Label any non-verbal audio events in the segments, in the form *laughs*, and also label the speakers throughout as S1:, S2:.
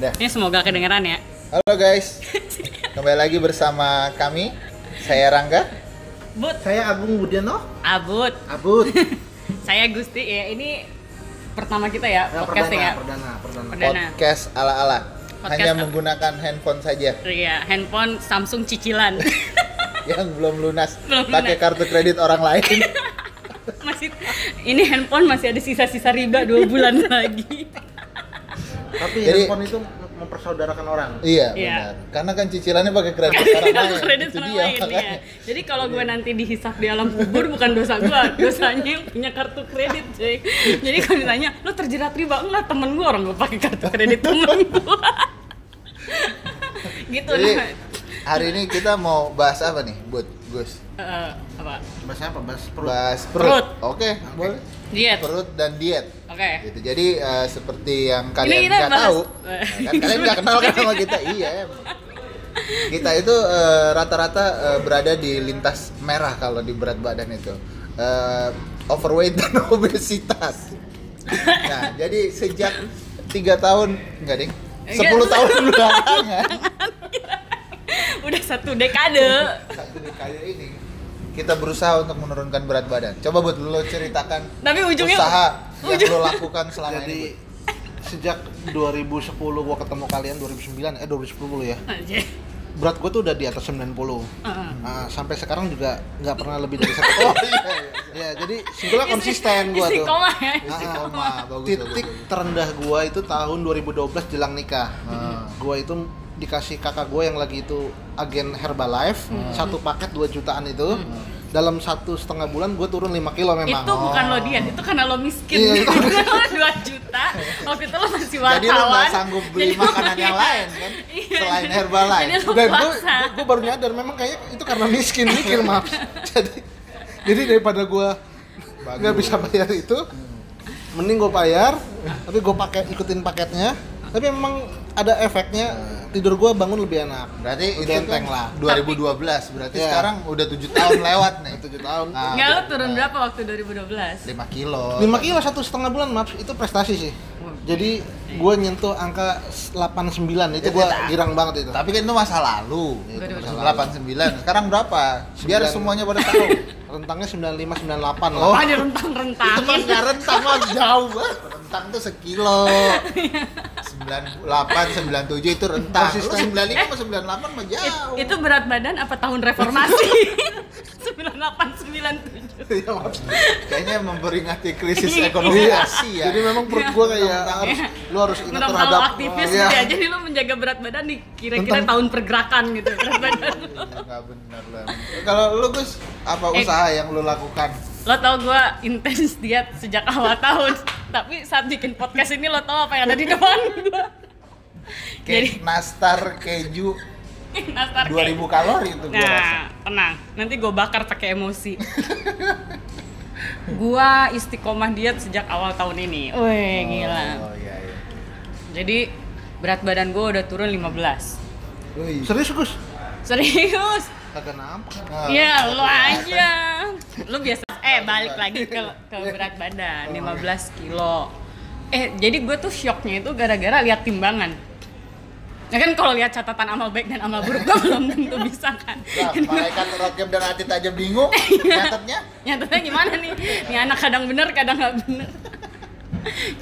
S1: Dah.
S2: Ini semoga kedengeran ya.
S1: Halo guys, kembali lagi bersama kami. Saya Rangga.
S2: But,
S3: Saya Agung Budiono,
S2: abut.
S3: Abud.
S2: Saya Gusti ya. Ini pertama kita ya
S3: Nah,
S2: podcasting ya.
S3: perdana, perdana, perdana.
S2: Perdana.
S1: Podcast ala-ala.
S2: Podcast
S1: Hanya
S2: apa?
S1: menggunakan handphone saja *laughs*
S2: Iya, handphone Samsung cicilan. *laughs*
S1: yang belum lunas.
S2: Belum
S1: Pakai
S2: lunas.
S1: kartu kredit orang
S2: *laughs*
S1: lain.
S2: masih ini handphone masih ada sisa-sisa riba dua
S1: *laughs*
S2: bulan lagi.
S3: Tapi
S1: Jadi-
S3: handphone itu mempersaudarakan orang.
S1: iya,
S2: Iya.
S1: benar. Karena kan cicilannya pakai kredit orang lain.
S2: kredit
S1: Itu
S2: orang
S1: dia,
S2: lain
S1: makanya. Iya.
S2: ya. Jadi kalau gue nanti dihisap di alam kubur bukan dosa
S1: *laughs*
S2: gue, dosanya yang punya kartu kredit, cuy. Jadi kalau ditanya, lo terjerat riba enggak? Temen gue orang gue pakai kartu
S1: *laughs*
S2: kredit temen gue. gitu
S1: Jadi
S2: nah.
S1: hari ini kita mau bahas apa nih, Bud? Gus.
S2: *laughs* Eh, apa?
S3: Bahasa apa? Bahasa perut.
S1: Bahas
S2: Perut.
S1: perut. Oke, boleh.
S2: Diet. Oke.
S1: Perut dan diet. gitu jadi eh, seperti yang kalian
S2: kita
S1: nggak
S2: bahas- *laughs*
S1: tahu
S2: Eh.
S1: ya kan? kalian nggak kenal kan sama kita iya emang. kita itu eh, rata-rata eh, berada di lintas merah kalau di berat badan itu Eh, overweight dan *laughs* obesitas nah jadi sejak tiga tahun nggak ding
S2: Nggak.
S1: 10 tahun kan? belakangan
S2: Udah satu dekade.
S1: satu dekade ini kita berusaha untuk menurunkan berat badan coba buat lo ceritakan
S2: Tapi Nah, ujungnya
S1: usaha yang
S2: ujung-
S1: lo lakukan selama
S3: Jadi
S1: ini Bud.
S3: sejak 2010 gua ketemu kalian 2009 eh 2010 ya.
S2: Anjir.
S3: Berat gua tuh udah di atas 90.
S2: Heeh.
S3: Nah, sampai sekarang juga nggak pernah lebih dari satu.
S1: oh *laughs* iya, iya.
S3: ya, jadi
S2: Iya
S3: sebelah konsisten gua tuh.
S2: Istiqomah
S1: Ah,
S2: ya.
S1: Istiqomah, bagus,
S3: titik
S1: bagus,
S3: terendah gua itu tahun 2012 jelang nikah. Nah, Gua itu dikasih kakak gue yang lagi itu agen Herbalife satu paket 2 jutaan itu dalam satu setengah bulan gue turun 5 kilo memang
S2: Itu bukan lo diet, itu karena lo miskin.
S3: Iya,
S2: *laughs* itu
S3: itu.
S2: lo 2 juta. Waktu itu lo masih wartawan.
S1: Jadi lu nggak sanggup beli
S2: Jadi lo
S1: makanan yang
S2: pakai-
S1: lain kan?
S2: *laughs* Iya,
S1: Selain
S2: jadi-
S1: Herbalife.
S2: Jadi lo
S3: dan gue
S2: puasa.
S3: baru nyadar memang kayaknya itu karena miskin mikir maaf jadi jadi daripada gue nggak bisa bayar itu mending gue bayar tapi gue pakai ikutin paketnya tapi memang ada efeknya tidur gue bangun lebih enak
S1: Berarti itu
S3: Udah enteng
S1: kan
S3: lah.
S1: 2012, berarti
S3: Iya.
S1: sekarang udah 7 tahun lewat nih.
S3: 7 tahun
S1: Ah,
S2: Enggak, lo turun berapa waktu 2012?
S1: 5 kilo.
S3: 5 kilo satu setengah bulan maaf itu prestasi sih jadi gue nyentuh angka 89 itu
S1: Ya,
S3: gue
S1: tidak.
S3: girang banget itu
S1: Tapi kan Iya, itu masa lalu.
S2: Itu masa
S1: Masa 89. Sekarang berapa? Biar
S3: Sembilan.
S1: semuanya pada
S2: *laughs*
S1: tahu.
S3: rentangnya 95 98 lah
S1: Oh.
S2: Ada
S1: itu mah
S2: rentang-rentangin.
S1: nggak rentang mah jauh banget. Rentang tuh
S2: *laughs*
S1: sekilo. 98, 97 itu rentang. Lu 95 sama 98 mah
S2: It-
S1: jauh.
S2: itu berat badan apa tahun reformasi?
S1: *laughs*
S2: *laughs* 9897.
S3: Iya, maaf.
S1: Kayaknya memperingati krisis
S2: *laughs* Iya.
S1: ekonomi
S3: Iya.
S1: Asia.
S3: Jadi memang perut gua kayak
S1: Tentang-
S3: harus lu harus ingat
S2: Menurut
S3: terhadap
S2: kalau aktivis
S3: Iya.
S2: gitu ya, jadi lo menjaga berat badan di kira-kira
S3: Tentang-
S2: tahun pergerakan gitu berat badan lo.
S1: Enggak benar lah. Kalau lu Gus, apa
S2: Eh.
S1: usaha yang lu lakukan?
S2: lo tau gue intens diet sejak awal tahun tapi saat bikin podcast ini lo tau apa yang ada di depan gue jadi
S1: Kayak nastar keju
S2: nastar
S1: 2000
S2: kayak-
S1: kalori itu gua rasa.
S2: nah tenang nanti gue bakar pakai
S3: *laughs*
S2: emosi gua istiqomah diet sejak awal tahun ini wih gila
S1: Oh iya iya.
S2: jadi berat badan gue udah turun 15
S1: Wih.
S3: Serius Gus?
S2: serius
S3: Kagak nampak.
S1: Nah,
S2: Iya, lo aja. Lo biasa eh balik lagi ke ke berat badan 15 kilo. Eh, jadi gue tuh shocknya itu gara-gara lihat timbangan. Ya kan kalau lihat catatan amal baik dan amal buruk gue *laughs* belum tentu bisa kan.
S1: Nah, malaikat Rokem dan Atit aja
S2: *laughs*
S1: bingung
S2: Iya.
S1: nyatetnya.
S2: Nyatanya gimana nih? Nih anak kadang bener, kadang nggak bener.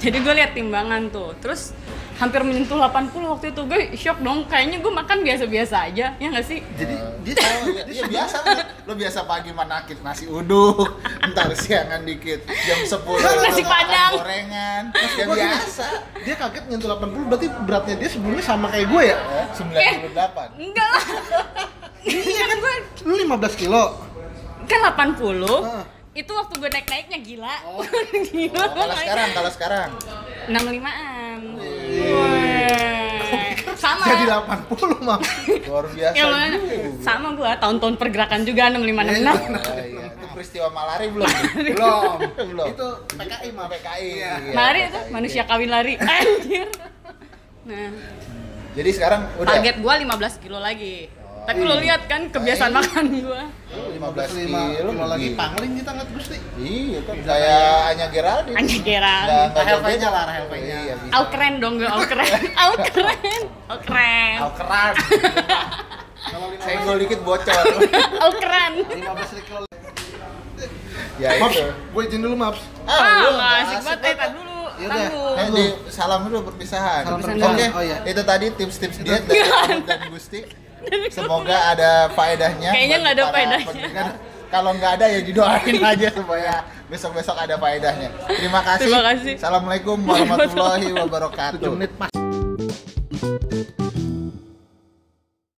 S2: Jadi gue lihat timbangan tuh, terus hampir menyentuh 80 waktu itu gue shock dong. Kayaknya gue makan biasa-biasa aja, ya nggak sih?
S1: Jadi dia *laughs* tahu ya, dia biasa kan. Lu biasa pagi manakit nasi uduk, *laughs* ntar siangan dikit, jam 10 lu
S2: Nasi
S1: makan
S2: padang.
S1: gorengan. Ya
S3: Gua gini,
S1: biasa.
S3: Dia kaget nyentuh 80 berarti beratnya dia sebelumnya sama kayak gue ya.
S1: Ya,
S2: Iya.
S1: 98.
S2: Enggak lah. Iya kan gue
S3: Lu 15 kilo.
S2: kan 80
S3: Hah.
S2: itu waktu gue naik naiknya gila
S1: Ah. Oh.
S2: *laughs* gila
S1: Oh, kalau sekarang, kalau sekarang.
S2: 65an sama
S3: Jadi 80 mah.
S1: Luar biasa.
S2: Ya, lo-
S1: juga.
S2: sama gue tahun-tahun pergerakan juga 65
S1: Oh, iya. Itu peristiwa malari
S2: *laughs*
S1: belum? belum. belum.
S3: Itu
S1: PKI mah PKI. Iya,
S2: 66 lari itu
S1: PKI.
S2: manusia kawin lari *laughs* anjir nah
S1: Jadi sekarang udah.
S2: target gue 15 kilo lagi
S1: Oh,
S2: Tapi lo lihat kan kebiasaan makan gua.
S1: Lima belas
S3: 15
S1: kilo gitu.
S3: kilo kalau lagi
S1: lebih.
S3: pangling kita ngeliat Gusti.
S1: Iya kan kayak
S3: ya.
S1: Anya Geraldine.
S2: Anya Geraldine.
S1: Nggak- nggak jauh
S3: Rahel Fenya
S1: beda.
S3: lah, Rahel Fenya.
S1: Iya, bisa.
S2: Au keren dong gue, au
S1: *laughs*
S2: keren, au keren, au keren,
S1: Au
S2: *laughs*
S1: keran.
S3: Kalau
S1: Senggol dikit bocor.
S2: *laughs* au keren.
S3: 15 kilo.
S1: ya
S3: Maps,
S1: itu.
S3: gue izin dulu maps.
S2: Ah,
S1: lu
S2: nggak
S1: nggak
S2: asik banget, eh, tar dulu,
S3: Yaudah.
S2: tangguh.
S1: Eh, di, salam dulu perpisahan.
S3: Salam
S1: Oke,
S3: perpisahan. Oh, iya.
S1: itu tadi tips-tips diet dari Ahmad dan
S2: *laughs*
S1: Gusti. Semoga ada faedahnya.
S2: Kayaknya
S1: bagi
S2: nggak ada
S1: para
S2: faedahnya.
S1: pendengar. Kalau nggak ada ya didoain
S2: *laughs*
S1: aja supaya besok-besok ada faedahnya. Terima kasih.
S2: Terima kasih.
S1: Assalamualaikum warahmatullahi wabarakatuh.
S3: menit pas.